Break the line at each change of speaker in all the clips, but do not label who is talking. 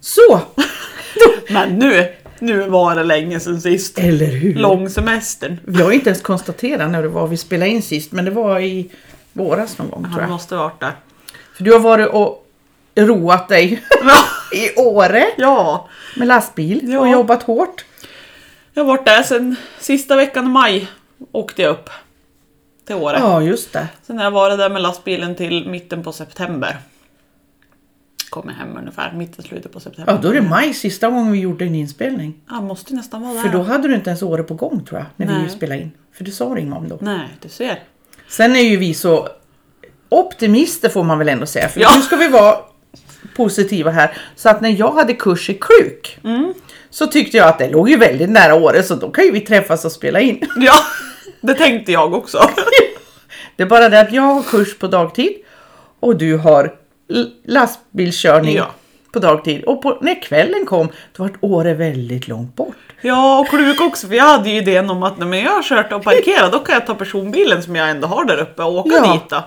Så!
Men nu, nu var det länge sedan sist.
Eller hur?
Lång semestern.
Jag har inte ens konstaterat när det var vi spelade in sist, men det var i våras någon gång tror
Han
jag.
måste varit där.
För du har varit och roat dig i Åre
Ja,
med lastbil
Ja.
och jobbat hårt.
jag har varit där sen sista veckan i maj. Åkte jag upp till Åre.
Ja, just det.
Sen har jag varit där med lastbilen till mitten på september. Kommer hem ungefär mitten, slutet på september.
Ja, då är det maj sista gången vi gjorde en inspelning.
Ja, måste nästan vara där.
För då hade du inte ens Åre på gång tror jag, när
Nej.
vi spelade in. För du sa det inget om då.
Nej, du ser.
Sen är ju vi så optimister får man väl ändå säga. För
Ja.
nu ska vi vara positiva här. Så att när jag hade kurs i kluk
Mm.
så tyckte jag att det låg ju väldigt nära året så då kan ju vi träffas och spela in.
Ja, det tänkte jag också.
Det är bara det att jag har kurs på dagtid och du har l- lastbilskörning
Ja.
på dagtid. Och på, när kvällen kom då var Åre väldigt långt bort.
Ja, och kluk också. För jag hade ju idén om att när men jag har kört och parkerat då kan jag ta personbilen som jag ändå har där uppe och åka
Ja.
dit. Då.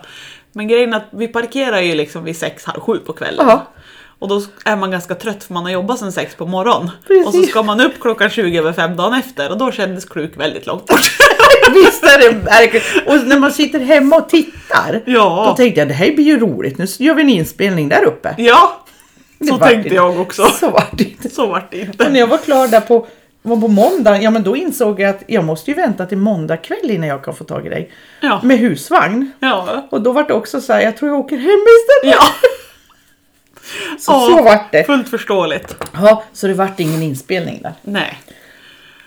Men grejen är att vi parkerar ju liksom vid sex, halv sju på kvällen.
Ja.
Och då är man ganska trött för man har jobbat sedan sex på morgonen.
Precis.
Och så ska man upp klockan 20 över fem dagen efter och då kändes kluk väldigt långt bort.
Visst är det märkligt? Och när man sitter hemma och tittar
Ja.
då tänkte jag det här blir ju roligt. Nu gör vi en inspelning där uppe.
Ja, så
vart
tänkte
inte-
jag också.
Så var det inte.
Så vart det
Och när
inte.
jag var klar där på, var på måndag, ja men då insåg jag att jag måste ju vänta till måndag kväll innan jag kan få tag i dig.
Ja.
Med husvagn.
Ja.
Och då var det också så här, jag tror jag åker hem istället.
ja.
Så, så vart det.
Fullt förståeligt.
Ja, så det vart ingen inspelning där.
Nej.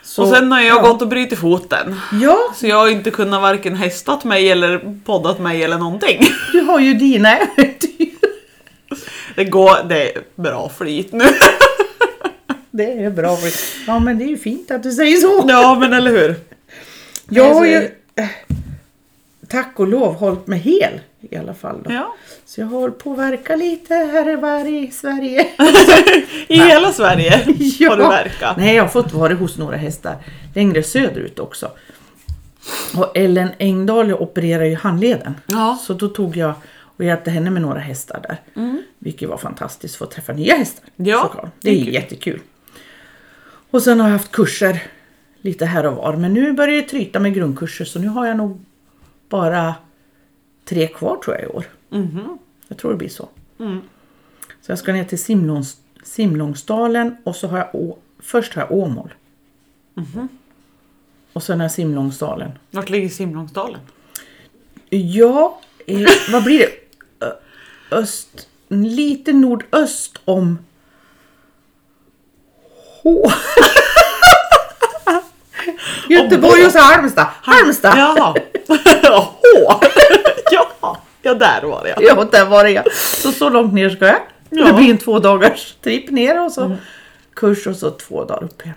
Så,
och sen har jag
ja.
gått och brutit foten.
Ja,
Så jag har inte kunnat varken hästat mig eller poddat mig eller någonting.
du har ju dina äventyr.
Det går, det är bra flyt nu.
Det är bra. Ja, men det är ju fint att du säger så.
Ja men eller hur.
Jag har
så
ju,
är
eh, tack och lov, hållit mig hel i alla fall. Då.
Ja.
Så jag har hållit på att verka lite här och var i Sverige.
I hela Sverige har du verkat.
Nej, jag har fått vara hos några hästar längre söderut också. Och Ellen Engdahl opererar ju handleden.
Ja.
Så då tog jag och hjälpte henne med några hästar där.
Mm.
Vilket var fantastiskt för att träffa nya hästar.
Ja,
såklart. Det
det
är
är kul.
jättekul. Och sen har jag haft kurser lite här och var. Men nu börjar det tryta med grundkurser så nu har jag nog bara tre kvar tror jag i år. Jag tror det blir så. Så jag ska ner till Simlångs, Simlångsdalen och så har jag å, först har jag Åmål. Och sen har jag Simlångsdalen.
Vart ligger Simlångsdalen?
Ja, eh, vad blir det? Ö- Öst, lite nordöst om H. Göteborg och så Halmstad. Halmstad!
Jaha. Åh. ja. ja, där var jag.
Ja, där var det jag. Så, så långt ner ska jag.
Ja. Mm.
Det blir en två dagars tripp ner och så kurs och så två dagar upp igen.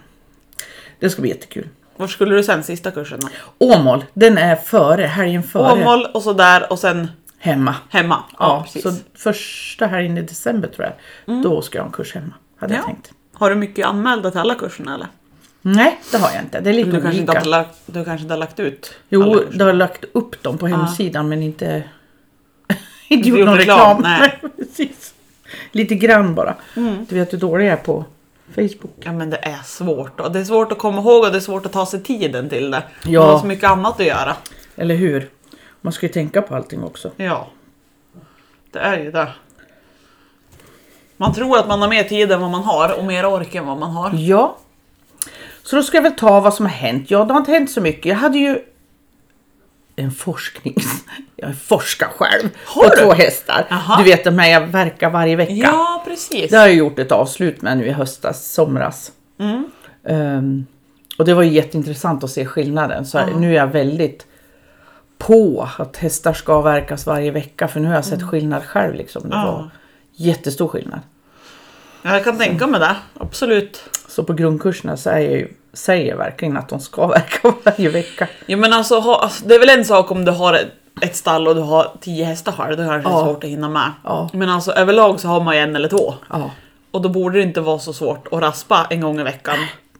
Det ska bli jättekul.
Vart skulle du sen sista kursen då?
Åmål, den är före, helgen före
Åmål och så där och sen
hemma.
hemma. Ja,
Ja,
precis. Mm.
så första helgen i december tror jag. Då ska jag ha en kurs hemma, hade jag
Ja.
tänkt.
Har du mycket anmälda till alla kurserna eller?
Nej, det har jag inte. Det är lite
Du kanske, inte
olika.
har lagt, du kanske inte har lagt ut? alla
Jo,
kurser.
du har lagt upp dem på hemsidan men inte, inte
gjort
gjort någon
reklam,
reklam.
nej. Mm.
precis. Lite grann bara. Du vet hur dålig jag är på Facebook.
Ja men det är svårt och det är svårt att komma ihåg och det är svårt att ta sig tiden till det.
Ja.
Man har så mycket annat att göra.
Eller hur? Man ska ju tänka på allting också.
Ja. Det är ju det. Man tror att man har mer tid än vad man har och mer ork än vad man har.
Ja. Så då ska jag väl ta vad som har hänt. Ja, det har inte hänt så mycket. Jag hade ju en forskning. Jag forskar själv
Har
på
du?
två hästar.
Jaha.
Du vet de här jag verkar varje vecka.
Ja precis.
Det har jag gjort ett avslut med nu i höstas, somras.
Mm.
Ehm, och det var ju jätteintressant att se skillnaden. Så här, nu är jag väldigt på att hästar ska avverkas varje vecka för nu har jag sett skillnad själv. Liksom. Det
Mm. Ja.
var jättestor skillnad.
Ja, Jag kan tänka mig det. Absolut.
Så på grundkurserna så är jag ju, säger jag verkligen att de ska verka varje vecka.
Ja, men alltså, ha, alltså, det är väl en sak om du har ett- ett stall och du har tio hästar själv. Då kanske det är
Ja.
svårt att hinna med.
Ja.
Men alltså överlag så har man ju en eller två.
Ja,
Och då borde det inte vara så svårt att raspa en gång i veckan.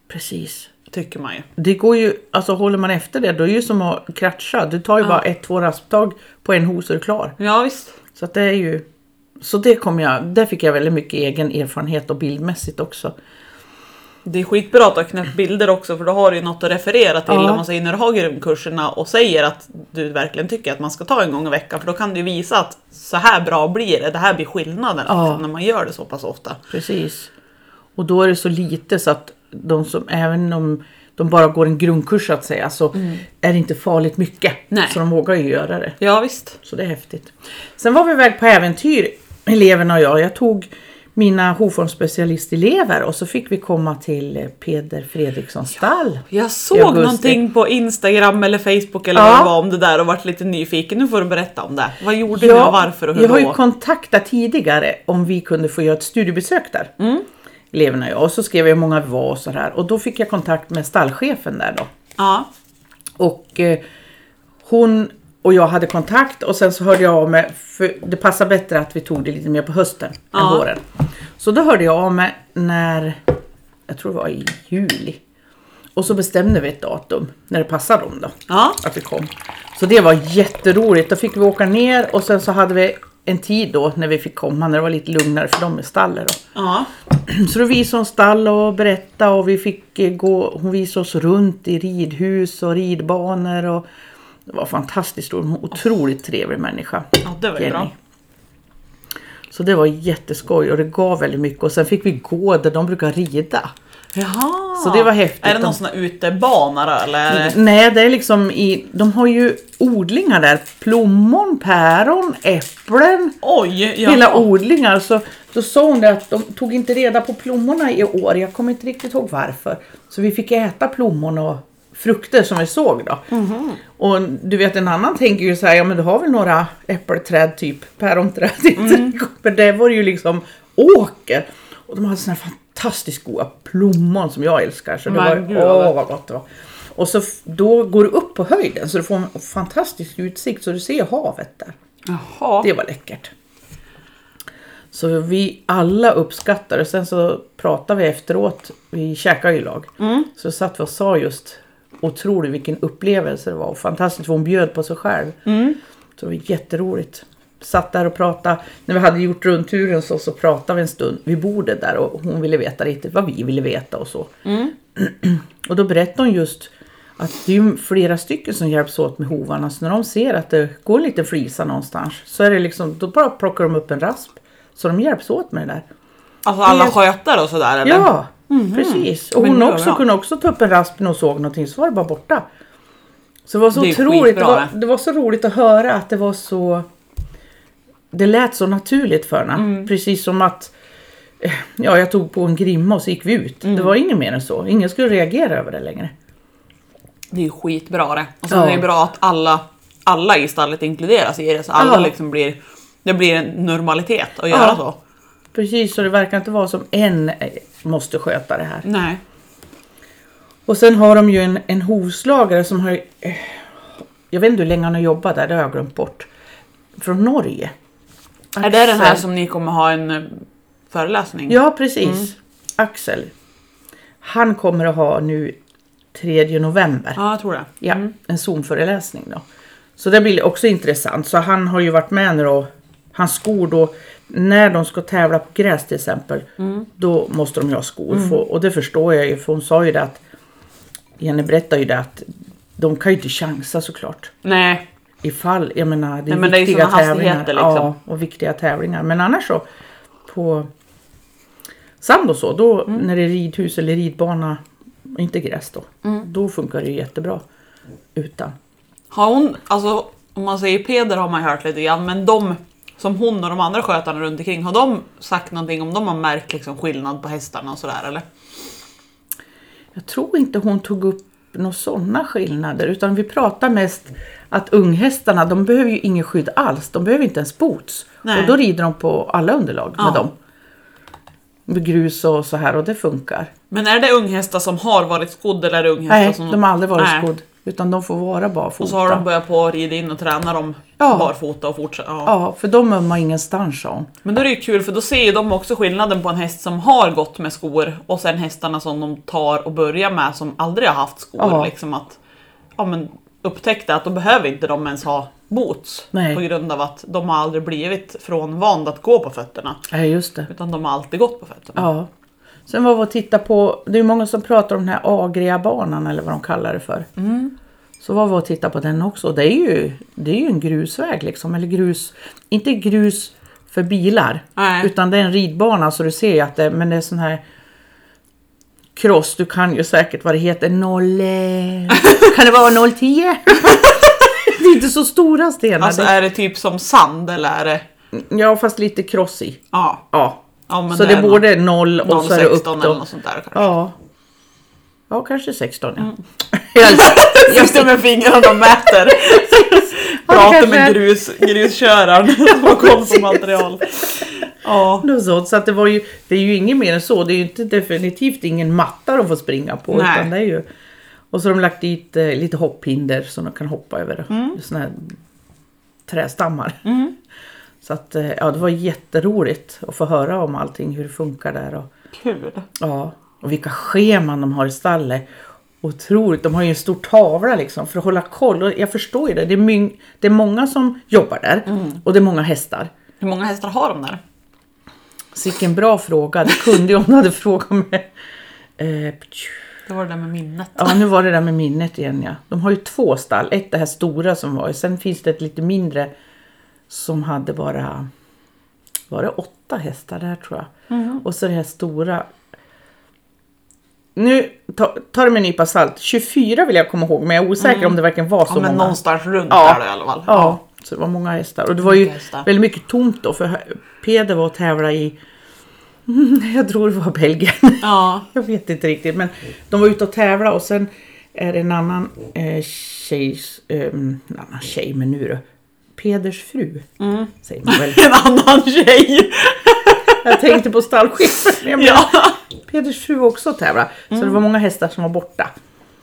precis.
Tycker man ju.
Det går ju, alltså håller man efter det, då är det ju som att kratcha. Du tar ju bara ett, två rasptag på en hos och är du klar.
Ja visst.
Så att det är ju Så det kom jag, där fick jag väldigt mycket egen erfarenhet och bildmässigt också.
Det är skitbra att du har knäppt bilder också för då har du ju något att referera till
Ja.
om man säger när du har grundkurserna och säger att du verkligen tycker att man ska ta en gång i veckan för då kan du ju visa att så här bra blir det, det här blir skillnaden
Ja.
liksom, när man gör det så pass ofta.
Precis. Och då är det så lite så att de som, även om de bara går en grundkurs så att säga, så är det inte farligt mycket.
Nej.
Så de vågar ju göra det.
Ja visst.
Så det är häftigt. Sen var vi iväg på äventyr, eleverna och jag. Jag tog mina Hoformsspecialistelever och så fick vi komma till eh, Peder Fredrikssons stall.
Jag såg
I augusti.
någonting på Instagram eller Facebook eller
Ja.
vad det var om det där och vart lite nyfiken. Nu får du berätta om det. Vad gjorde ni och varför och hur
jag har
då?
ju kontaktat tidigare om vi kunde få göra ett studiebesök där.
Mm.
Eleverna och jag. Och så skrev jag hur många vi var och så här. Och då fick jag kontakt med stallchefen där då.
ja.
Och eh, hon och jag hade kontakt och sen så hörde jag av mig, för det passar bättre att vi tog det lite mer på hösten
Ja.
än våren. Så då hörde jag av mig när, jag tror det var i juli. Och så bestämde vi ett datum när det passade dem då.
Ja.
Att vi kom. Så det var jätteroligt. Då fick vi åka ner och sen så hade vi en tid då när vi fick komma när det var lite lugnare för dem i stallet då.
ja.
Så då visade hon stall och berätta och vi fick eh, gå, hon visade oss runt i ridhus och ridbanor och det var fantastiskt roligt. Hon var en otroligt trevlig människa.
Ja, det var ju bra.
Så det var jätteskoj och det gav väldigt mycket och sen fick vi gå där de brukar rida.
Jaha.
Så det var häftigt.
Är det någon
De-
sån här utebana då eller?
Nej, det är liksom i, de har ju odlingar där. Plommon, päron, äpplen.
Oj! Ja.
hela odlingar. Så då sa hon det att de tog inte reda på plommorna i år. Jag kommer inte riktigt ihåg varför. Så vi fick äta plommon och frukter som vi såg då.
Mhm.
Och du vet en annan tänker ju så här, ja men du har väl några äppelträd typ, päronträd i
Mm.
trädgården. Det var det ju liksom åker. Och de hade såna här fantastiskt goda plommon som jag älskar. Så det
Men
var
gud,
ju,
vad gott.
åh vad gott det var. Och så f- då går du upp på höjden så du får en fantastisk utsikt så du ser havet där.
Jaha.
Det var läckert. Så vi alla uppskattade och sen så pratade vi efteråt, vi käkade ju lag. Så satt vi och sa just otroligt vilken upplevelse det var och fantastiskt för hon bjöd på sig själv. Så det var jätteroligt. Satt där och pratade, när vi hade gjort rundturen så, så pratade vi en stund vid bordet där och hon ville veta riktigt vad vi ville veta och så. Och då berättade hon just att det är ju flera stycken som hjälps åt med hovarna. Så när de ser att det går lite flisa någonstans så är det liksom, då bara plockar de upp en rasp. Så de hjälps åt med det där.
Alltså alla
Helt-
skötare och sådär eller?
Ja, precis. Och
Mhm. Men
hon
det var
också
bra.
kunde också ta upp en rasp när hon såg någonting så var det bara borta. Så det var så
Det är
otroligt, det
skitbra
var, det var så roligt att höra att det var så Det lät så naturligt för henne.
Mm.
Precis som att eh, Ja, jag tog på en grimma och så gick vi ut.
Mm.
Det var inget mer än så. Ingen skulle reagera över det längre.
Det är ju skitbra det. Och sen
Ja.
är det bra att alla, alla i stallet inkluderas i det så alla
Ja.
liksom blir Det blir en normalitet att göra
Ja.
så.
Precis, så det verkar inte vara som en eh, måste sköta det här.
Nej.
Och sen har de ju en, en hovslagare som har... eh, Jag vet inte hur länge han har jobbat där, det har jag glömt bort. Från Norge.
Är det den här
Axel.
som ni kommer ha en eh, föreläsning?
Ja, precis. Axel. Han kommer att ha nu 3 november.
Ja, jag tror det.
Ja, en Zoom-föreläsning då. Så det blir också intressant. Så han har ju varit med nu då. Hans skor då, när de ska tävla på gräs till exempel, då måste de ju ha skor. För, och det förstår jag ju, för hon sa ju det att, Jenny berättade ju det att de kan ju inte chansa såklart.
Nej.
Ifall, jag menar det är
Nej, men det är ju
viktiga
såna
tävlingar.
hastigheter, liksom.
Ja, och viktiga tävlingar. Men annars så, på sand och så, då
Mm.
när det är ridhus eller ridbana, inte gräs då,
Mm.
då funkar det ju jättebra utan.
Har hon, alltså om man säger Peder har man ju hört lite grann, men de som hon och de andra skötarna runt omkring, har de sagt någonting om de har märkt liksom skillnad på hästarna och sådär eller?
Jag tror inte hon tog upp några sådana skillnader utan vi pratar mest att unghästarna de behöver ju ingen skydd alls. De behöver inte ens boots.
Nej.
Och då rider de på alla underlag med
Ja.
dem. Med grus och så här och det funkar.
Men är det unghästar som har varit skodd eller är det unghästar
Nej,
som...
de har aldrig varit
Nej.
skodd. Utan de får vara barfota.
Och så har de börjat på att rida in och träna dem
Ja.
barfota och fortsätta. Ja.
Ja, för de ömmar ingenstans sa hon.
Men då är det ju kul för då ser ju de också skillnaden på en häst som har gått med skor och sen hästarna som de tar och börjar med som aldrig har haft skor.
Ja.
Liksom att, ja, men upptäckte att då behöver inte de ens ha boots.
Nej.
På grund av att de har aldrig blivit frånvanda att gå på fötterna.
Nej, just det.
Utan de har alltid gått på fötterna.
Ja. Sen var vi och tittade på, det är ju många som pratar om den här agria banan eller vad de kallar det för.
Mm.
Så var vi och tittade på den också. Det är ju, det är ju en grusväg liksom, eller grus, inte grus för bilar.
Nej.
Utan det är en ridbana så du ser ju att det, men det är sån här cross, du kan ju säkert vad det heter, 0... kan det vara 010? det är inte så stora stenar.
Alltså
det,
är det typ som sand eller är det...
ja, fast lite krossig.
Ja.
Ja.
ja men
så det är
någon-
både 0 och så är det upp
0,16
då.
eller något sånt där. kanske.
Ja. Ja, kanske 16 ja. Jag, jag,
Sitter med fingrarna och mäter. Pratar med
kanske.
grus, grusköraren som har koll på
precis.
material. Ja.
något sånt. Så att det, var ju, det är ju inget mer än så. Det är ju inte, definitivt ingen matta de får springa på.
Nej.
Utan det är ju, och så har de lagt dit eh, lite hopphinder som de kan hoppa över. Såna här trästammar. Så att, eh, ja, det var jätteroligt att få höra om allting, hur det funkar där. Och,
Kul.
Ja, och vilka scheman de har i stallet. Otroligt, de har ju en stor tavla liksom för att hålla koll. Och jag förstår ju det, det är, myng, det är många som jobbar där och det är många hästar.
Hur många hästar har de där?
Så vilken bra fråga, det kunde ju om du hade frågat mig. Eh, ptju.
Det var det där med minnet.
ja, nu var det där med minnet igen ja. De har ju två stall, ett det här stora som var, sen finns det ett lite mindre som hade bara, var det åtta hästar där tror jag?
Mm.
Och så det här stora nu ta, ta det med en nypa salt. 24 vill jag komma ihåg, men jag är osäker om det verkligen var så
Mm. Ja, men
många.
någonstans runt
Ja.
där då i alla fall.
Ja, så det var många hästar. Och det var ju
Mycket hästar.
väldigt mycket tomt då, för hö- Peder var och tävlade i, Mm, jag tror det var Belgien.
Ja.
Jag vet inte riktigt, men de var ute och tävla och sen är det en annan eh, tjej, eh, en annan tjej, men nu då. Peders fru,
Mm.
säger man väl.
En annan tjej.
Jag tänkte på stallchefen. Jag menar,
Ja. Mm.
Peders fru var också och tävla. Så det var många hästar som var borta.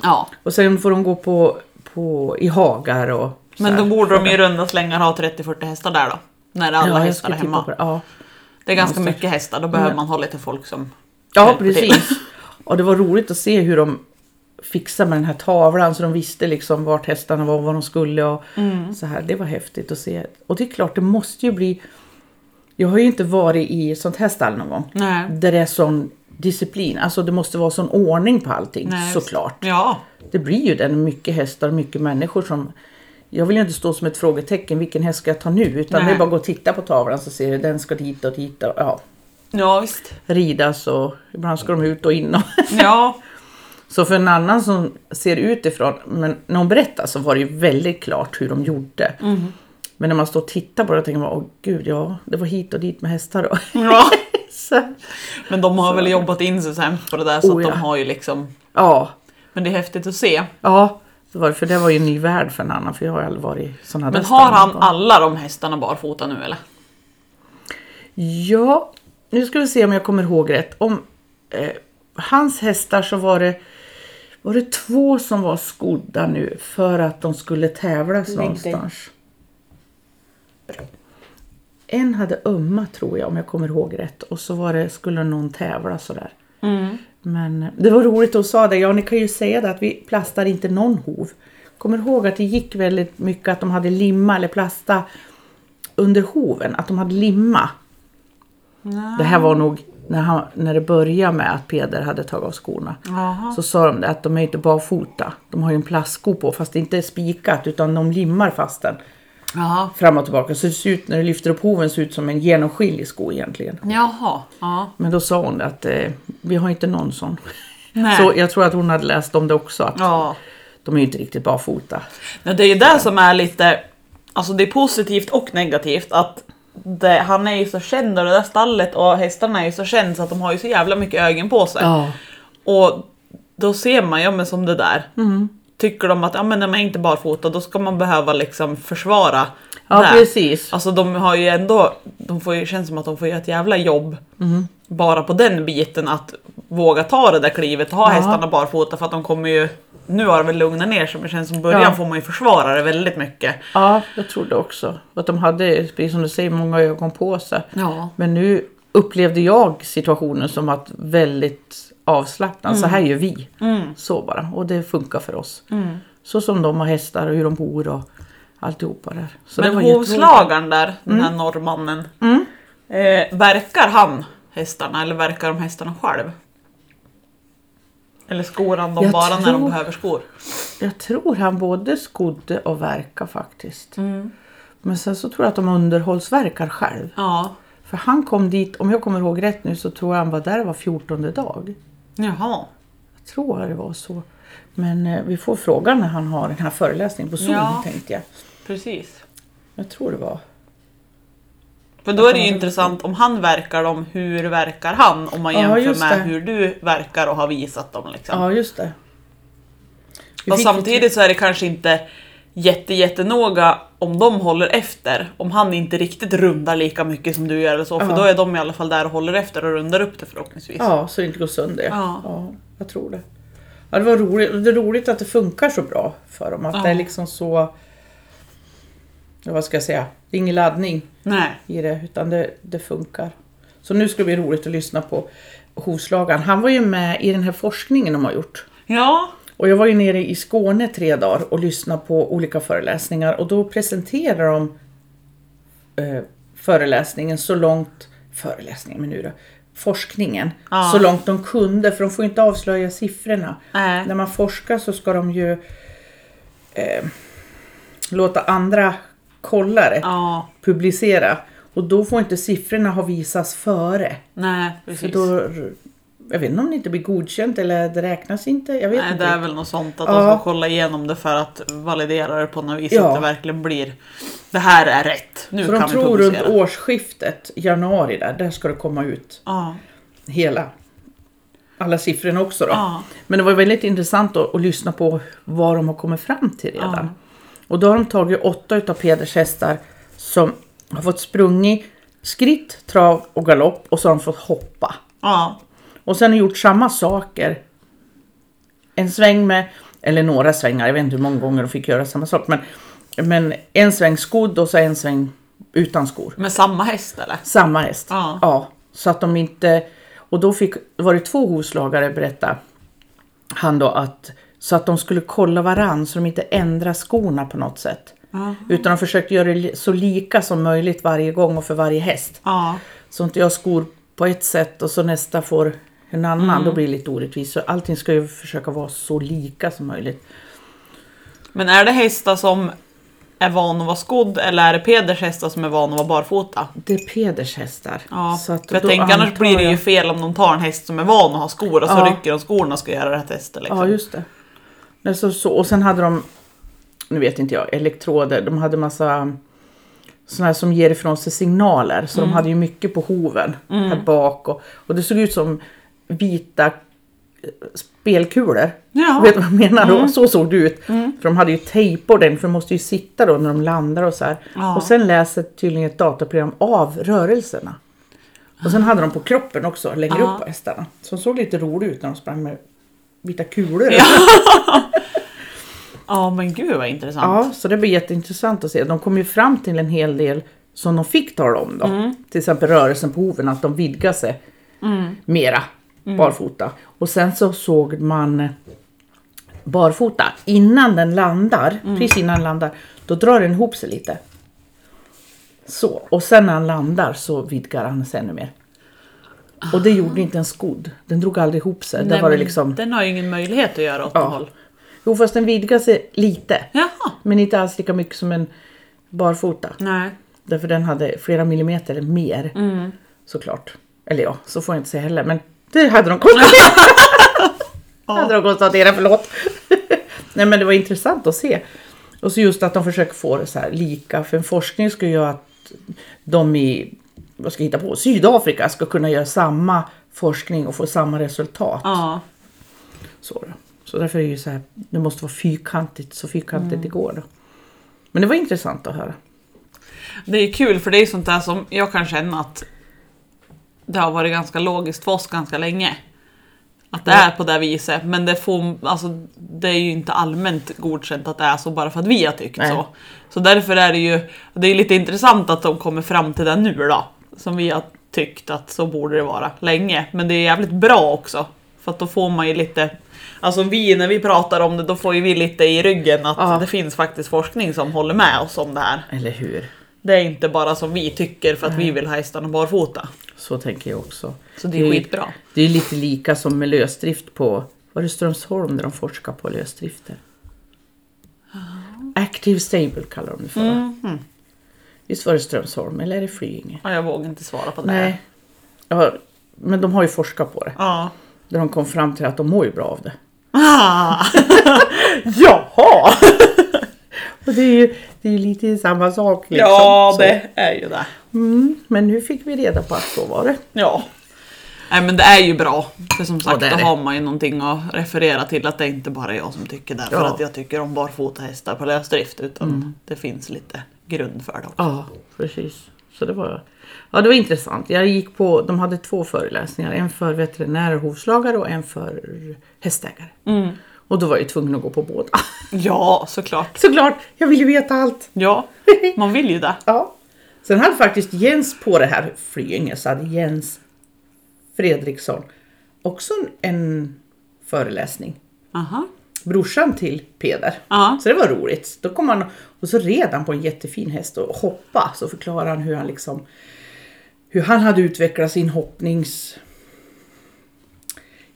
ja.
Och sen får de gå på, på i hagar och så
Men
här.
då borde de ju i runda slängar ha 30-40 hästar där då. När alla
ja, jag
hästar
skulle
är
tippa
hemma.
på det. Ja.
Det är ganska
Någonstans.
mycket hästar, då behöver man ha lite folk som
Ja,
hjälper till.
precis. Och det var roligt att se hur de fixade med den här tavlan så de visste liksom vart hästarna var och vad de skulle och
Mm.
så här. Det var häftigt att se. Och det är klart, det måste ju bli... Jag har ju inte varit i sånt här stall någon gång.
Nej.
Där det är sån disciplin. Alltså det måste vara sån ordning på allting
Nej,
såklart.
Ja.
Det blir ju den mycket hästar och mycket människor som... Jag vill ju inte stå som ett frågetecken, vilken häst ska jag ta nu? Utan det
Nej.
är bara att gå och titta på tavlan så ser du, den ska dit och dit och ja,
Ja, visst.
ridas och ibland ska de ut och in. Och
Ja.
så för en annan som ser utifrån, men när hon berättar så var det ju väldigt klart hur de gjorde.
Mm.
Men när man står och tittar på det tänker man, åh gud ja, det var hit och dit med hästar då.
ja.
så,
Men de har väl jobbat in sig så hemskt på det där så
Oh,
att
ja.
de har ju liksom
ja,
Men det är häftigt att se.
ja, det var det, för det var ju en ny värld för en annan, för jag har ju aldrig varit i sådana
Men har han alla de hästarna barfota nu eller?
Ja, nu ska vi se om jag kommer ihåg rätt. Om eh, hans hästar så var det, var det två som var skodda nu för att de skulle tävlas
dig.
någonstans. En hade ömma tror jag om jag kommer ihåg rätt och så var det, skulle någon tävla sådär. Men eh, det var roligt att hon sa det. Ja, ni kan ju säga det att vi plastar inte någon hov. Kommer ihåg att det gick väldigt mycket att de hade limma eller plasta under hoven. Att de hade limma. Det här
Ah.
var nog när, han, när det började med att Peder hade tagit av skorna.
Jaha.
Så sa de det att de är ju inte barfota. De har ju en plastsko på fast det inte är spikat utan de limmar fast den
Jaha.
fram och tillbaka. Så det ser ut när du lyfter upp hoven ser det ut som en genomskinlig sko egentligen.
Jaha. Ja.
Men då sa hon det att eh, vi har inte någon sån.
Nej.
Så jag tror att hon hade läst om det också. Att
Ja.
De är ju inte riktigt barfota.
Men det är ju det som är lite, alltså det är positivt och negativt att det, han är ju så känd och det där stallet och hästarna är ju så kända så att de har ju så jävla mycket ögon på sig.
Ja.
Och då ser man, ja men som det där.
Mm.
Tycker de att, ja men när man är inte barfota då ska man behöva liksom försvara
Ja,
det.
precis.
Alltså de har ju ändå, de får ju, känns som att de får göra ett jävla jobb
Mm-hmm.
bara på den biten att våga ta det där klivet och ha
Ja.
hästarna barfota för att de kommer ju, nu har det väl lugnat ner sig men det känns som början
Ja.
får man ju försvara det väldigt mycket.
Ja, jag trodde också. Att de hade, precis som du säger, många ögon på sig.
Ja.
Men nu upplevde jag situationen som att väldigt avslappnad.
Mm.
Så här gör vi.
Mm.
Så bara. Och det funkar för oss. Så som de har hästar och hur de bor. Och, alltihopa där. Så det
Men
var jätteroligt. Mm.
hovslagaren där, den här norrmannen. Eh, verkar han hästarna eller verkar de hästarna själv? Eller skor han dem
Jag
bara när de
tror-
behöver skor?
Jag tror han både skodde och verkar faktiskt.
Mm.
Men sen så tror jag att de underhållsverkar själv.
Ja.
För han kom dit, om jag kommer ihåg rätt nu, så tror jag han var där var 14 dag.
Jaha.
Jag tror det var så. Men eh, vi får fråga när han har den här föreläsningen på Zoom
Ja.
tänkte jag.
Precis.
Jag tror det var.
För då är det ju intressant om han verkar dem, hur verkar han? Om man
Ja,
jämför
just
med
det.
hur du verkar och har visat dem. Liksom.
Ja, just det. Vi fick-
Och
typ-
samtidigt så är det kanske inte jätte, jättenoga om de håller efter. Om han inte riktigt rundar lika mycket som du gör eller så. För
Ja.
då är de i alla fall där och håller efter och rundar upp det förhoppningsvis.
Ja, så det inte går sönder.
Ja.
ja jag tror det. Ja, det var roligt. Det är roligt att det funkar så bra för dem. Att
Ja.
det är liksom så... Ja, vad ska jag säga? Det är ingen laddning
Nej.
i det, utan det, det funkar. Så nu ska det bli roligt att lyssna på hovslagaren. Han var ju med i den här forskningen de har gjort.
Ja.
Och jag var ju nere i Skåne tre dagar och lyssnade på olika föreläsningar och då presenterar de eh, föreläsningen så långt, föreläsningen men nu då, forskningen
Ja.
så långt de kunde för de får ju inte avslöja siffrorna.
Nej.
När man forskar så ska de ju eh, låta andra kolla det,
Ja.
publicera och då får inte siffrorna ha visats före.
Nej,
För
precis.
då, jag vet inte om det inte blir godkänt eller det räknas inte. Jag vet
Nej,
inte.
det är väl något sånt att
Ja.
de ska kolla igenom det för att validera det på något vis.
Ja.
Att det verkligen blir det här är rätt. Nu
Så
kan
de
vi
tror runt
publicera.
årsskiftet, januari där, där ska det komma ut
Ja.
hela, alla siffrorna också då.
Ja.
Men det var väldigt intressant att, att lyssna på vad de har kommit fram till redan.
Ja.
Och då har de tagit åtta utav Peders hästar som har fått sprungit skritt, trav och galopp och så har de fått hoppa.
ja.
Och sen har gjort samma saker. En sväng med, eller några svängar, jag vet inte hur många gånger de fick göra samma sak. Men, men en sväng skodd och så en sväng utan skor.
Med samma häst eller?
Samma häst.
Ja.
så att de inte... Och då fick, var det två hovslagare berätta han då att så att de skulle kolla varann så de inte ändrar skorna på något sätt. Utan de försökte göra det li- så lika som möjligt varje gång och för varje häst.
Ja.
Så inte jag har skor på ett sätt och så nästa får en annan,
Mm.
då blir det lite orättvist. Så allting ska ju försöka vara så lika som möjligt.
Men är det hästar som är van att vara skodd eller är det Peders hästar som är van att vara barfota?
Det är Peders hästar.
Ja,
så att
för jag
då
tänker annars
antar
blir det
jag-
ju fel om de tar en häst som är van att ha skor och så
Ja.
rycker de skorna och ska göra rätt hästar liksom.
Ja, just det. Nej, så, så, och sen hade de, nu vet inte jag, elektroder. De hade massa sådana här som ger ifrån sig signaler. Så de hade ju mycket på hoven här bak. Och, och det såg ut som vita eh, spelkulor.
Ja.
Vet du vad jag menar? då?
Mm.
Så såg det ut. För de hade ju tejp ordentligt, för de måste ju sitta då när de landar och så här.
Ja.
Och sen läser tydligen ett dataprogram av rörelserna. Och sen hade de på kroppen också, längre
Ja.
upp på hästarna. Som såg lite rolig ut när de sprang med vita kulor.
Ja, men gud vad intressant.
Ja, så det blir jätteintressant att se. De kom ju fram till en hel del som de fick tala om då.
Mm.
Till exempel rörelsen på hoven, att de vidgar sig mera
Mm.
barfota. Och sen så såg man barfota, innan den landar,
Mm.
precis innan den landar, då drar den ihop sig lite. Så, och sen när han landar så vidgar han sig ännu mer. Och det gjorde inte en skodd. Den drog aldrig ihop sig.
Ah. Nej,
Där var det
men
liksom...
Den har ju ingen möjlighet att göra åt
Ja.
ja. håll.
Jo, fast den vidgar sig lite.
Jaha.
Men inte alls lika mycket som en barfota.
Nej.
Därför den hade flera millimeter mer. Såklart. Eller ja, så får jag inte säga heller. Men det hade de konstaterat. hade de konstaterat, förlåt. Nej men det var intressant att se. Och så just att de försöker få det så här lika. För en forskning ska ju göra att de i vad ska jag hitta på, Sydafrika ska kunna göra samma forskning och få samma resultat.
Ja.
Så, då. så därför är det ju så här, det måste vara fyrkantigt, så fyrkantigt det går. Då. Men det var intressant att höra.
Det är kul för det är sånt där som jag kan känna att det har varit ganska logiskt för oss ganska länge. Att det är på det viset, men det, får, alltså, det är ju inte allmänt godkänt att det är så bara för att vi har tyckt
Nej.
så. Så därför är det ju det är lite intressant att de kommer fram till det nu då. Som vi har tyckt att så borde det vara länge. Men det är jävligt bra också. För att då får man ju lite Alltså vi, när vi pratar om det, då får ju vi lite i ryggen att
Ja.
det finns faktiskt forskning som håller med oss om det här.
Eller hur?
Det är inte bara som vi tycker för att vi vill ha hästarna barfota.
Så tänker jag också.
Så det är
ju-
skitbra.
Det är lite lika som med lösdrift på, var det Strömsholm där de forskar på lösdrifter? Active stable kallar de det för. va? Visst var det Strömsholm eller är det Flyinge?
Ja, jag vågar inte svara på det. här.
Nej. Ja, men de har ju forskat på det.
Ja.
Där de kom fram till att de mår ju bra av det.
Ah,
Jaha! Och det är ju, det är ju lite samma sak. Liksom.
ja,
Så.
det är ju det.
Mm, men nu fick vi reda på att så var det.
Ja. Nej men det är ju bra. För som sagt
det är
då
det.
har man ju någonting att referera till. Att det är inte bara jag som tycker det. För
Ja. Mm.
att jag tycker om barfota hästar på lösdrift. Utan det finns lite grund för det också.
Ja, precis. Så det var, ja, det var intressant. Jag gick på, de hade två föreläsningar. En för veterinärer och hovslagare och en för hästägare. Och då var jag ju tvungen att gå på båda.
Ja, såklart.
Såklart, jag vill ju veta allt.
Ja, man vill ju det.
Ja. Sen hade faktiskt Jens på det här Flyinge, så hade Jens Fredriksson också en, en föreläsning.
Aha.
Brorsan till Peder.
Ja.
Så det var roligt. Då kom han och så red han på en jättefin häst och hoppa. Så förklarar han hur han liksom hur han hade utvecklat sin hoppnings...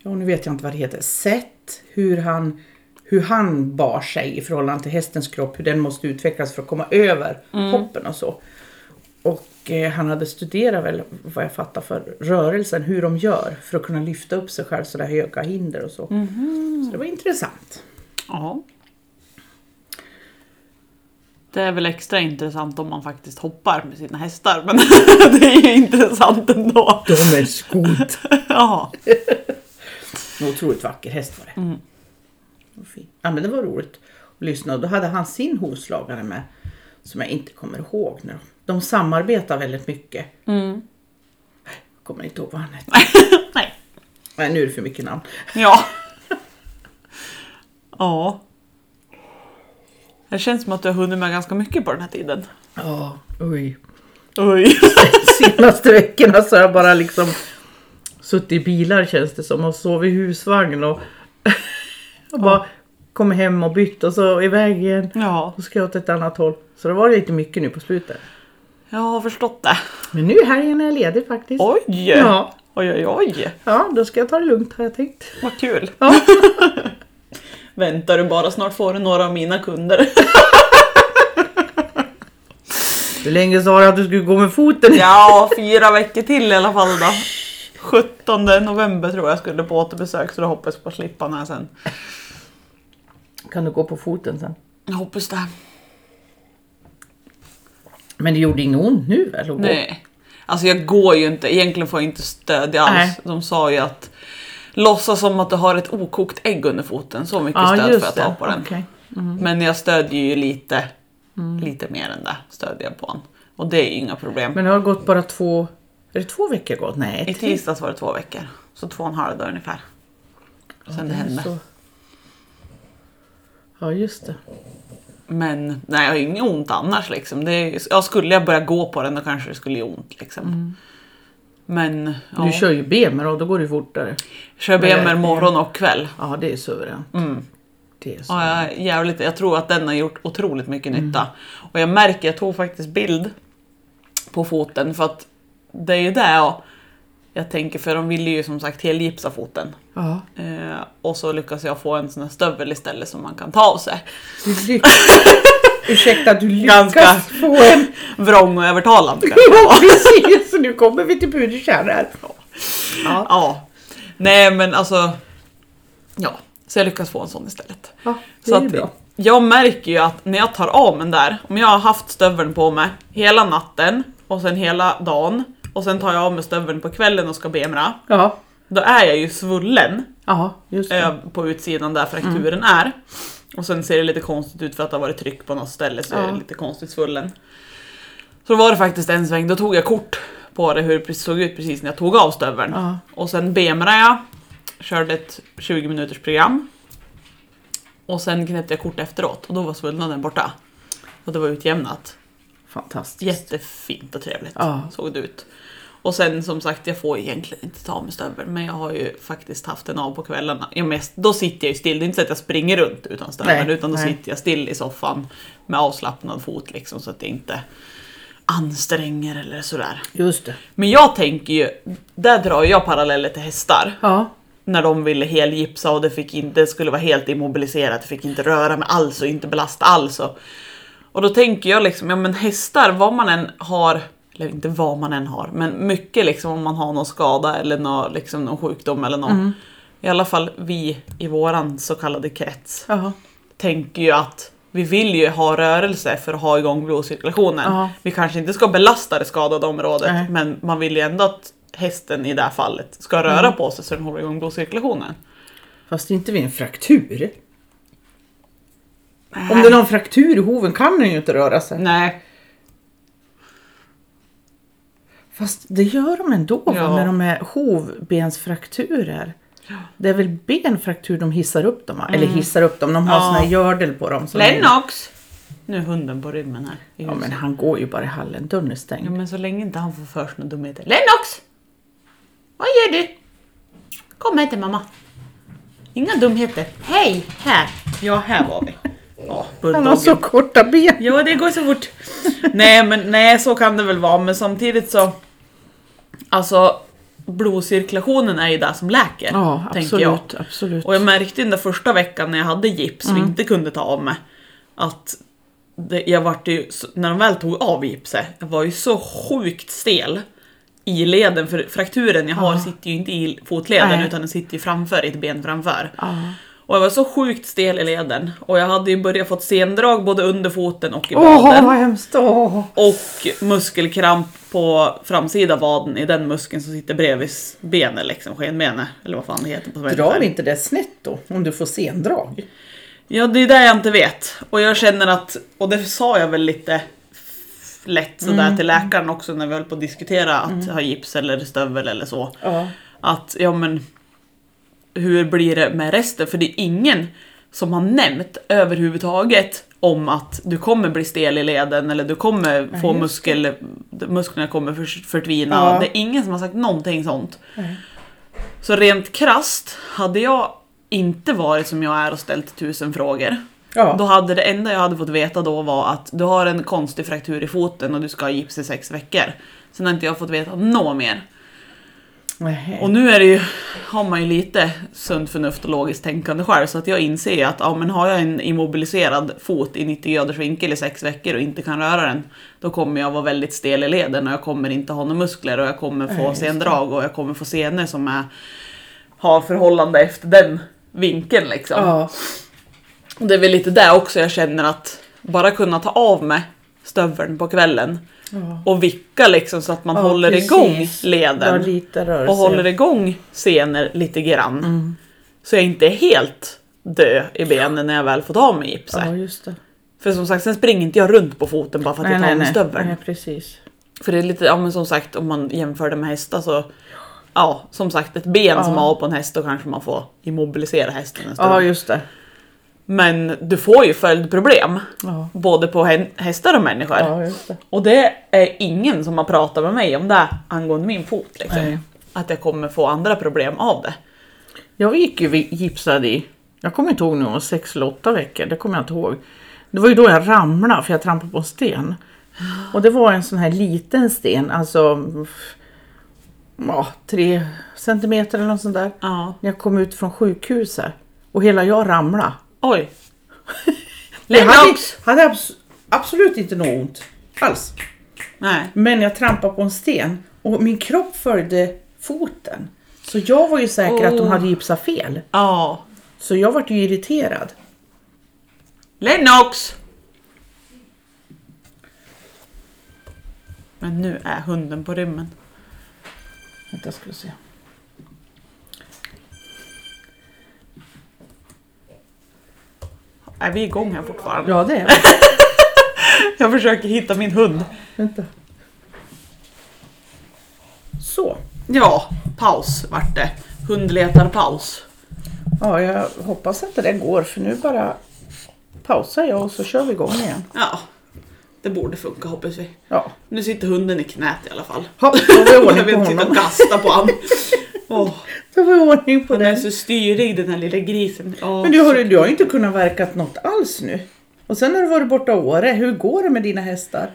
Ja, nu vet jag inte vad det heter. Sätt hur han, hur han bar sig i förhållande till hästens kropp. Hur den måste utvecklas för att komma över hoppen och så. Och eh, han hade studerat väl, vad jag fattar för rörelsen, hur de gör för att kunna lyfta upp sig själv sådär höga hinder och så. Så det var intressant.
Ja. Det är väl extra intressant om man faktiskt hoppar med sina hästar. Men det är ju intressant ändå.
De är skot.
Ja.
En otroligt vacker häst var det. Vad fin. Ja, men det var roligt att lyssna. Och då hade han sin hovslagare med. Som jag inte kommer ihåg nu. De samarbetar väldigt mycket. Jag kommer inte ihåg vad han hette.
Nej.
Nej, nu är det för mycket namn.
Ja. Ja. Det känns som att du har hunnit med ganska mycket på den här tiden.
Ja, oj.
Oj.
Senaste veckorna så har jag bara liksom suttit i bilar känns det som och sovit i husvagn och, och bara kom hem och bytt och så iväg igen.
Ja,
Och ska jag åt ett annat håll. Så det var lite mycket nu på slutet.
jag har förstått det.
Men nu i helgen är jag ledig faktiskt.
Oj!
Ja.
Oj, oj, oj.
Ja, då ska jag ta det lugnt har jag tänkt.
Vad kul.
Ja.
Väntar du bara, snart får du några av mina kunder.
Hur länge sa du att du skulle gå med foten?
Ja, fyra veckor till i alla fall då. 17 november tror jag skulle på återbesök så då hoppas jag på att slippa den här sen.
Kan du gå på foten sen?
Jag hoppas det.
Men det gjorde inget ont nu väl? att gå?
Nej. Alltså jag går ju inte, egentligen får jag inte stöd alls.
Nej.
De sa ju att låtsas som att du har ett okokt ägg under foten, så mycket
Ja,
stöd får jag
just
ta
det.
på den.
Okej.
Men jag stödjer ju lite, lite mer än det stödjer jag på den. Och det är ju inga problem.
Men det har gått bara två... Är det två veckor gått? Nej, tre.
I tisdags var det två veckor, så två och en halv dag ungefär. Sen det hände.
Så. Ja, just det.
Men nej, jag har ju inget ont annars. Liksom. Det är, ju- ja, skulle jag börja gå på den då kanske det skulle göra ont. Liksom. Men ja,
Mm. Du kör ju bemer och då går det ju fortare.
kör BMR
Nej.
morgon och kväll.
Ja, det är suveränt. Det är så.
Mm.
Mm.
Ja, jag, är jävligt, jag tror att den har gjort otroligt mycket nytta. Och jag märker, jag tog faktiskt bild på foten för att det är ju det jag, jag tänker för de ville ju som sagt helgipsa foten.
Ja.
Eh, och så lyckas jag få en sån här stövel istället som man kan ta av sig.
Du lyckas... Ursäkta, du lyckas
Ganska.
få en...
Vrång och övertalande kanske.
Ja, precis! Nu kommer vi till pudelkärn här. Ja.
Ja. Nej men alltså. Ja, så jag lyckas få en sån istället.
ja, det
Så
är ju
att
bra.
jag märker ju att när jag tar av mig den där, om jag har haft stöveln på mig hela natten och sen hela dagen och sen tar jag av mig stöveln på kvällen och ska bemra,
Ja,
då är jag ju svullen
ja just det.
eh, på utsidan där
Mm.
frakturen är. Och sen ser det lite konstigt ut för att det har varit tryck på något ställe så är
Ja.
det lite konstigt svullen. Så då var det faktiskt en sväng, då tog jag kort på det hur det såg ut precis när jag tog av stöveln.
Ja.
Och sen bemrade jag, körde ett 20 minuters program. Och sen knäppte jag kort efteråt och då var svullnaden borta. Och det var utjämnat.
Fantastiskt.
Jättefint och trevligt
Ja.
såg det ut. Och sen som sagt, jag får egentligen inte ta av mig stöveln, men jag har ju faktiskt haft den av på kvällarna. Jag mest, då sitter jag ju still, det är inte så att jag springer runt utan stöveln,
Nej,
utan då
nej.
sitter jag still i soffan med avslappnad fot liksom så att jag inte anstränger eller sådär.
Just det.
Men jag tänker ju, där drar jag paralleller till hästar
Ja.
när de ville helgipsa och det, fick in, det skulle vara helt immobiliserat, det fick inte röra mig alls och inte belasta alls. Och, och då tänker jag liksom, ja men hästar, vad man än har, eller inte vad man än har, men mycket liksom om man har någon skada eller någon, liksom någon sjukdom eller någon. I alla fall vi i våran så kallade krets
Jaha.
tänker ju att vi vill ju ha rörelse för att ha igång blodcirkulationen.
Ja.
Vi kanske inte ska belasta det skadade området
Nej.
men man vill ju ändå att hästen i det här fallet ska röra på sig så den håller igång blodcirkulationen.
Fast inte vid en fraktur. Om det är någon fraktur i hoven kan den ju inte röra sig.
Nej,
Fast det gör de ändå va,
Ja.
när de är hovbensfrakturer. Det är väl benfraktur de hissar upp dem va? Eller hissar upp dem, de har
Ja.
sån här gördel på dem. som-
Lennox! Nu är hunden på rymmen här. i
Ja
huset.
men han går ju bara i hallen, dörren är
ja,
stängd.
men så länge inte han får för sig några dumheter. Lennox! Vad gör du? Kom här till mamma. Inga dumheter. Hej! Här! Ja, här var vi. Ja,
Han har så korta ben.
Ja, det går så fort. nej, men nej, så kan det väl vara, men samtidigt så... Alltså, blodcirkulationen är ju det som läker.
Ja
tänker jag.
absolut, Mm. absolut.
Och jag märkte den där första veckan när jag hade gips och inte kunde ta av mig att det, jag vart ju, så- när de väl tog av gipset, jag var ju så sjukt stel i leden för frakturen jag har sitter ju inte i fotleden
Ah. Nej. Ah.
utan den sitter ju framför, i ett ben framför.
Ja.
Och jag var så sjukt stel i leden och jag hade ju börjat fått sendrag både under foten och i
Åh
vaden.
vad hemskt! Åh.
Och muskelkramp på framsida vaden i den muskeln som sitter bredvid s- benet liksom, skenbenet. Eller vad fan det heter på svenska.
Drar inte det snett då? Om du får sendrag?
Ja, det är det jag inte vet. Och jag känner att, och det sa jag väl lite f- lätt sådär
Mm.
till läkaren också när vi höll på att diskutera att ha gips eller stövel eller så.
Ja.
Att, ja men, hur blir det med resten? För det är ingen som har nämnt överhuvudtaget om att du kommer bli stel i leden eller du kommer få
just det.
muskel, musklerna kommer för, förtvina.
Ja.
Det är ingen som har sagt någonting sånt. Så rent krast hade jag inte varit som jag är och ställt tusen frågor.
Ja.
Då hade det enda jag hade fått veta då var att du har en konstig fraktur i foten och du ska ha gips i sex veckor. Sen har inte jag fått veta något mer.
Nähä.
Och nu är det ju, har man ju lite sunt förnuft och logiskt tänkande själv så att jag inser ju att ja, men har jag en immobiliserad fot i 90 graders vinkel i sex veckor och inte kan röra den då kommer jag vara väldigt stel i leden och jag kommer inte ha några muskler och jag kommer
Nej,
få
just det.
sendrag och jag kommer få senor som är, har förhållande efter den vinkeln liksom.
Ja.
Och det är väl lite det också jag känner att bara kunna ta av mig stöveln på kvällen
Ja.
och vicka liksom så att man
Ja,
håller
precis.
igång
Dra
leden
lite rörelse.
och håller igång senor lite grann.
Mm.
Så jag inte är helt dö i benen när jag väl får ta av mig gipset.
Ja just det.
För som sagt, sen springer inte jag runt på foten bara för att jag tar av mig stöveln.
nej precis.
För det är lite, ja men som sagt om man jämför det med hästar så Ja, som sagt ett ben som
Ja.
man har på en häst då kanske man får immobilisera hästen en stund.
Ja just det.
Men du får ju följdproblem.
Ja.
Både på hä- hästar och människor.
Ja just det.
Och det är ingen som har pratat med mig om det angående min fot. Liksom.
Nej.
Att jag kommer få andra problem av det.
Jag gick ju vi- gipsad i, jag kommer inte ihåg nu, om det var sex eller åtta veckor, det kommer jag inte ihåg. Det var ju då jag ramlade för jag trampade på en sten. Och det var en sån här liten sten, alltså f- ja, tre centimeter eller något sånt där.
Ja.
När jag kom ut från sjukhuset och hela jag ramlade.
Oj.
Jag hade,
Lennox!
hade abs- absolut inte något ont alls.
Nej.
Men jag trampade på en sten och min kropp följde foten. Så jag var ju säker att de
Åh.
hade gipsat fel.
Ja.
Så jag vart ju irriterad.
Lennox! Men nu är hunden på rymmen.
Vänta, ska vi se.
Är vi igång här fortfarande?
Ja, det är
Jag försöker hitta min hund.
Vänta. Så.
Ja, paus vart det. Hundletarpaus.
Ja, jag hoppas att det där går för nu bara pausar jag och så kör vi igång igen.
Ja. Det borde funka hoppas vi.
Ja.
Nu sitter hunden i knät i alla fall.
Ha, då har vi
Jag
ordning
vill
på
inte sitta och
honom.
kasta på honom. Åh,
Då har vi ordning på
han är
den.
så styrig den här lilla grisen. Åh,
Men du har, du har ju inte kunnat verka något alls nu. Och sen har du varit borta Åre. Hur går det med dina hästar?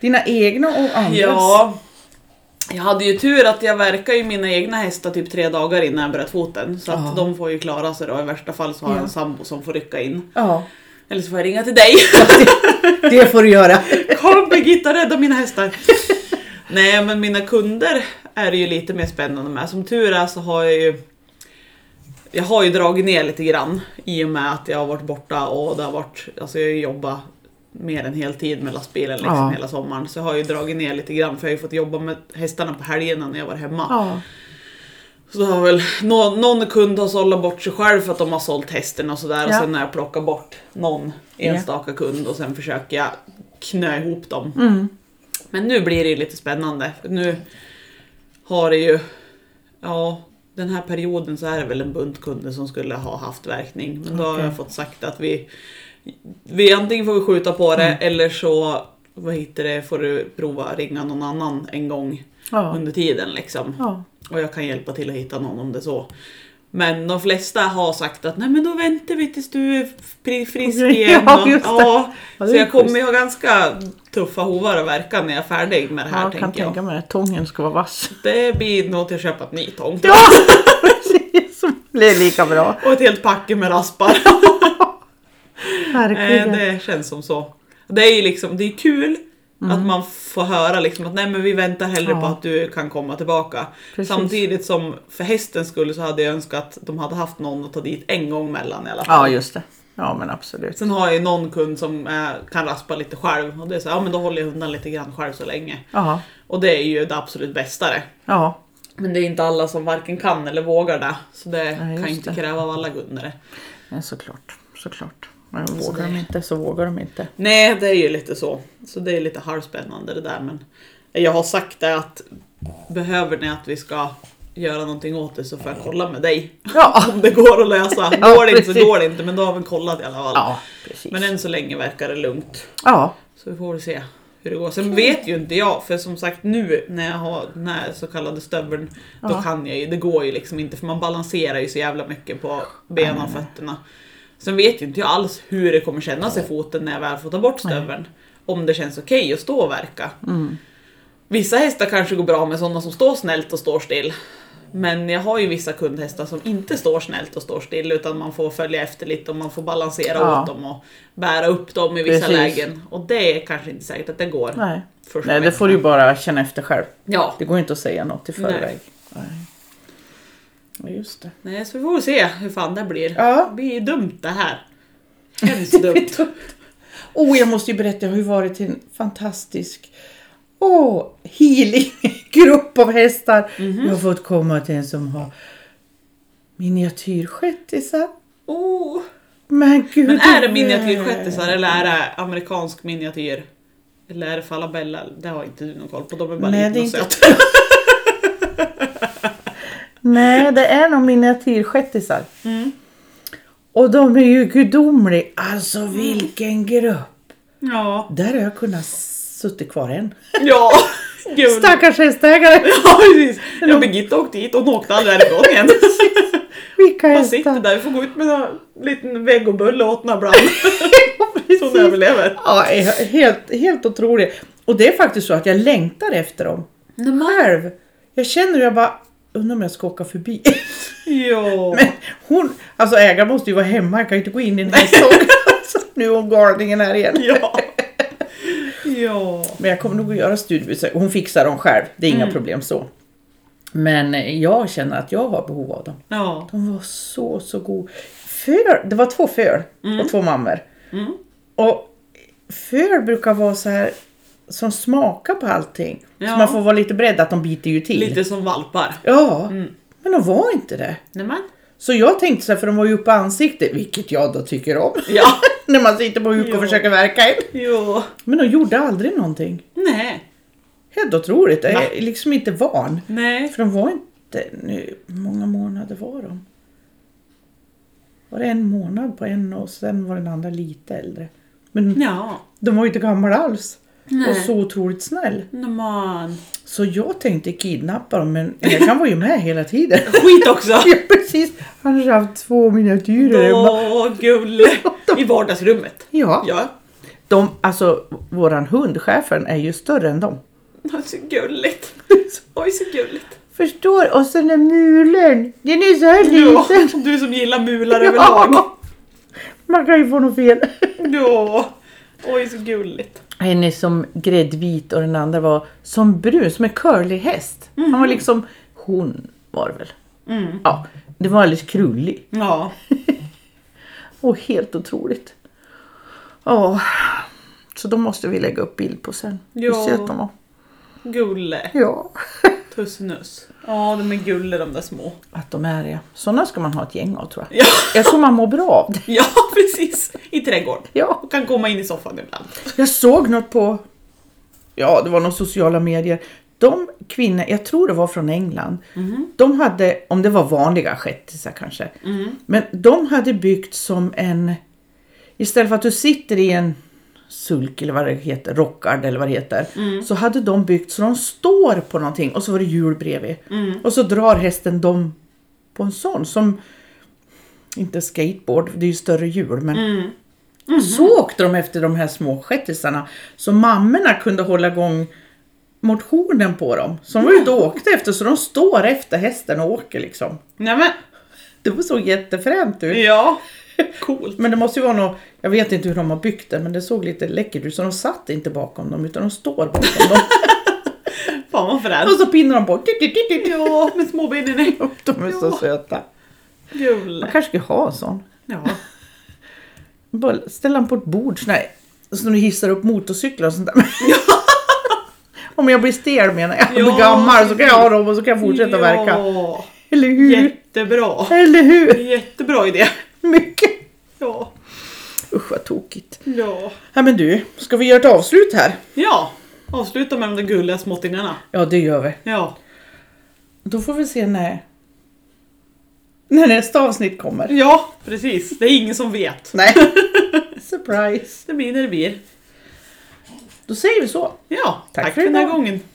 Dina egna och andras?
Ja. Jag hade ju tur att jag verkar ju mina egna hästar typ tre dagar innan jag bröt foten. Så att
Ja.
de får ju klara sig då. I värsta fall så har jag en
Ja.
sambo som får rycka in.
ja.
Eller så får jag ringa till dig.
Det får du göra.
Kom Birgitta, rädda mina hästar! Nej men mina kunder är det ju lite mer spännande med. Som tur är så har jag ju Jag har ju dragit ner lite grann i och med att jag har varit borta och det har varit Alltså jag har ju jobbat mer än heltid med lastbilen liksom
Ja.
hela sommaren. Så jag har ju dragit ner lite grann för jag har ju fått jobba med hästarna på helgerna när jag var hemma.
Ja.
Så har väl någon, någon kund har sållat bort sig själv för att de har sålt hästen och sådär.
Ja.
Och sen har jag plockat bort någon
Ja.
enstaka kund och sen försöker jag knö ihop dem.
Mm.
Men nu blir det ju lite spännande. För nu har det ju... Ja, den här perioden så är det väl en bunt kunder som skulle ha haft verkning. Men då har
Okej.
jag fått sagt att vi... vi antingen får vi skjuta på det
Mm.
eller så vad heter det, får du prova ringa någon annan en gång
Ja.
under tiden. Liksom.
Ja.
Och jag kan hjälpa till att hitta någon om det är så. Men de flesta har sagt att nej men då väntar vi tills du är fri- frisk
Okej,
igen.
ja,
och,
just det.
ja.
Ja, det
så
är
jag kommer
schysst.
ju ha ganska tuffa hovar att verka när jag är färdig med det här
Ja, jag kan
tänker jag.
tänka mig att tången ska vara vass.
Det blir nog till att köpa ett nytång.
Ja, precis. Så blir det lika bra.
Och ett helt packe med raspar. Eh,
Verkligen.
det känns som så. Det är ju liksom, det är kul att man får höra liksom att nej men vi väntar hellre
Mm. Ja.
på att du kan komma tillbaka.
Precis.
Samtidigt som för hästens skull så hade jag önskat att de hade haft någon att ta dit en gång mellan i alla fall.
Ja, just det. Ja, men absolut.
Sen har jag ju någon kund som eh, kan raspa lite själv och det är så här, ja men då håller jag undan lite grann själv så länge.
Ja.
Och det är ju det absolut bästa det.
Ja.
Men det är inte alla som varken kan eller vågar det. Så det
Nej,
kan
just
inte
det.
kräva av alla kunder det.
Men såklart, såklart. Men vågar de inte så vågar de inte.
Nej, det är ju lite så. Så det är lite halvspännande det där. Men jag har sagt det att behöver ni att vi ska göra någonting åt det så får jag kolla med dig.
Ja,
Om det går att lösa.
Ja,
Går det inte så
precis.
går det inte, men då har vi kollat i alla fall.
ja precis.
Men än så länge verkar det lugnt.
Ja,
Så vi får väl se hur det går. Sen vet ju inte jag, för som sagt nu när jag har den här så kallade stöveln, då
Ja.
kan jag ju. Det går ju liksom inte för man balanserar ju så jävla mycket på benen och fötterna. Sen vet ju inte jag alls hur det kommer kännas i foten när jag väl får ta bort stöveln. Om det känns okej att stå och verka.
Mm.
Vissa hästar kanske går bra med sådana som står snällt och står still. Men jag har ju vissa kundhästar som inte står snällt och står still utan man får följa efter lite och man får balansera
Ja.
åt dem och bära upp dem i vissa
Precis.
lägen. Och det är kanske inte säkert att det går.
nej.
första
Nej, det
veckan.
får du ju bara känna efter själv.
Ja,
Det går ju inte att säga något i förväg. Nej. Ja, just det.
Nej, så vi får väl se hur fan det blir.
Ja.
Det blir ju dumt det här. Hemskt dumt.
Oh, jag måste ju berätta, jag har ju varit till en fantastisk oh, healinggrupp av hästar.
Mhm.
Jag har fått komma till en som har miniatyrshettisar.
Oh.
Men gud.
Men är det
vad-
miniatyrshettisar eller är det amerikansk miniatyr? Eller är det falabella? Det har inte du någon koll på. De är bara
Nej, det
liten
är
och
inte-
söta.
Nej, det är nog miniatyrshettisar.
Mm.
Och de är ju gudomliga. Alltså
Mm.
vilken grupp!
Ja.
Där har jag kunnat suttit kvar än.
Ja. Gud.
Stackars hästägare!
Ja precis. Ja, Birgitta åkte hit och hon åkte aldrig därifrån igen.
Vilka
Hon sitter
hästar!
där. Vi får gå ut med en liten vägg och bulle åt henne ibland. Så hon
Precis.
överlever.
Ja, är helt, helt otroligt. Och det är faktiskt så att jag längtar efter dem. Själv. Jag känner hur jag bara, undrar om jag ska åka förbi.
Ja.
Men hon, alltså ägaren måste ju vara hemma, jag kan ju inte gå in i en hästhåg. Så Alltså, Nu är hon galningen här igen.
Ja. Ja.
Men jag kommer nog att göra studiebesök. Hon fixar dem själv, det är inga problem så. Men jag känner att jag har behov av dem.
Ja.
De var så, så god. Föl, det var två föl och två mammor.
Mm.
Och föl brukar vara så här som smakar på allting.
Ja.
Så man får vara lite beredd att de biter ju till.
Lite Mm. som valpar.
Ja, men de var inte det.
Nämen.
Så jag tänkte så här, för de var ju uppe i ansiktet, vilket jag då tycker om.
Ja.
När man sitter på huk och
Ja.
försöker verka in.
Jo.
Men de gjorde aldrig någonting.
Nej.
Helt otroligt. Jag
Nej.
är liksom inte van.
Nej.
För de var inte... Nu, hur många månader var de? Var det en månad på en och sen var den andra lite äldre. Men
Ja.
de var ju inte gamla alls. Och
Nej.
så otroligt snäll.
Nej, man.
Så jag tänkte kidnappa dem men han var ju med hela tiden.
Skit också!
Ja precis, han har haft två miniatyrer hemma.
Åh, gulle! I vardagsrummet.
Ja.
Ja.
De, alltså våran hund, chefen, är ju större än dem.
Åh, Så gulligt. Oj, så gulligt.
Förstår, och sen är mulen, den är så här
Ja,
liten.
du som gillar mular överlag.
Ja. Man kan ju få något fel.
Ja. Oj, så gulligt.
En är som gräddvit och den andra var som brun, som en curly häst. Han
Mhm.
var liksom, hon var det väl.
Mm.
Ja, det var alldeles krullig.
Ja.
Och helt otroligt. Ja, så de måste vi lägga upp bild på sen.
Ja.
Hur söt de var.
Gulle.
Ja.
Tussnuss. Ja, de är gulle de där små.
Att de är det. Sådana ska man ha ett gäng av tror jag.
Ja,
Jag tror man mår bra av det.
ja precis. I trädgården.
Ja.
Och kan komma in i soffan ibland.
Jag såg något på, ja det var några sociala medier. De kvinnor, jag tror det var från England, de hade, om det var vanliga shettisar kanske, men de hade byggt som en, istället för att du sitter i en sulk eller vad det heter, rockard eller vad det heter, så hade de byggt så de står på någonting och så var det hjul bredvid. Och så drar hästen dem på en sån som, inte skateboard, det är ju större hjul, men Mm-hmm. så åkte de efter de här små shettisarna. Så mammorna kunde hålla igång motionen på dem. Så de var ute och åkte efter, så de står efter hästen och åker liksom.
Nej men.
Det var så jättefränt ut.
Ja. Coolt.
Men det måste ju vara något, jag vet inte hur de har byggt det, men det såg lite läckert ut. Så de satt inte bakom dem, utan de står bakom dem.
Fan vad
Och
fränt.
så pinnar de på.
Ja, med småbenen i.
De är så
Ja.
söta. Man
Gulle.
kanske skulle ha en sån.
Ja.
Bara ställa den på ett bord sån här, så du hissar upp motorcyklar och sånt där. Om jag blir stel menar jag,
Ja,
blir gammal så kan jag ha dem och så kan jag fortsätta
ja.
verka. Eller hur?
Jättebra.
Eller hur?
Jättebra idé.
Mycket.
Ja.
Usch vad tokigt.
Ja.
Ja, men du, ska vi göra ett avslut här?
Ja. Avsluta med de där gulliga småttingarna.
Ja det gör vi.
Ja.
Då får vi se när, när nästa avsnitt kommer.
Ja, precis. Det är ingen som vet.
Nej. Surprise.
Det blir när det blir.
Då säger vi så.
Ja, tack,
Tack för
för den här
idag.
gången.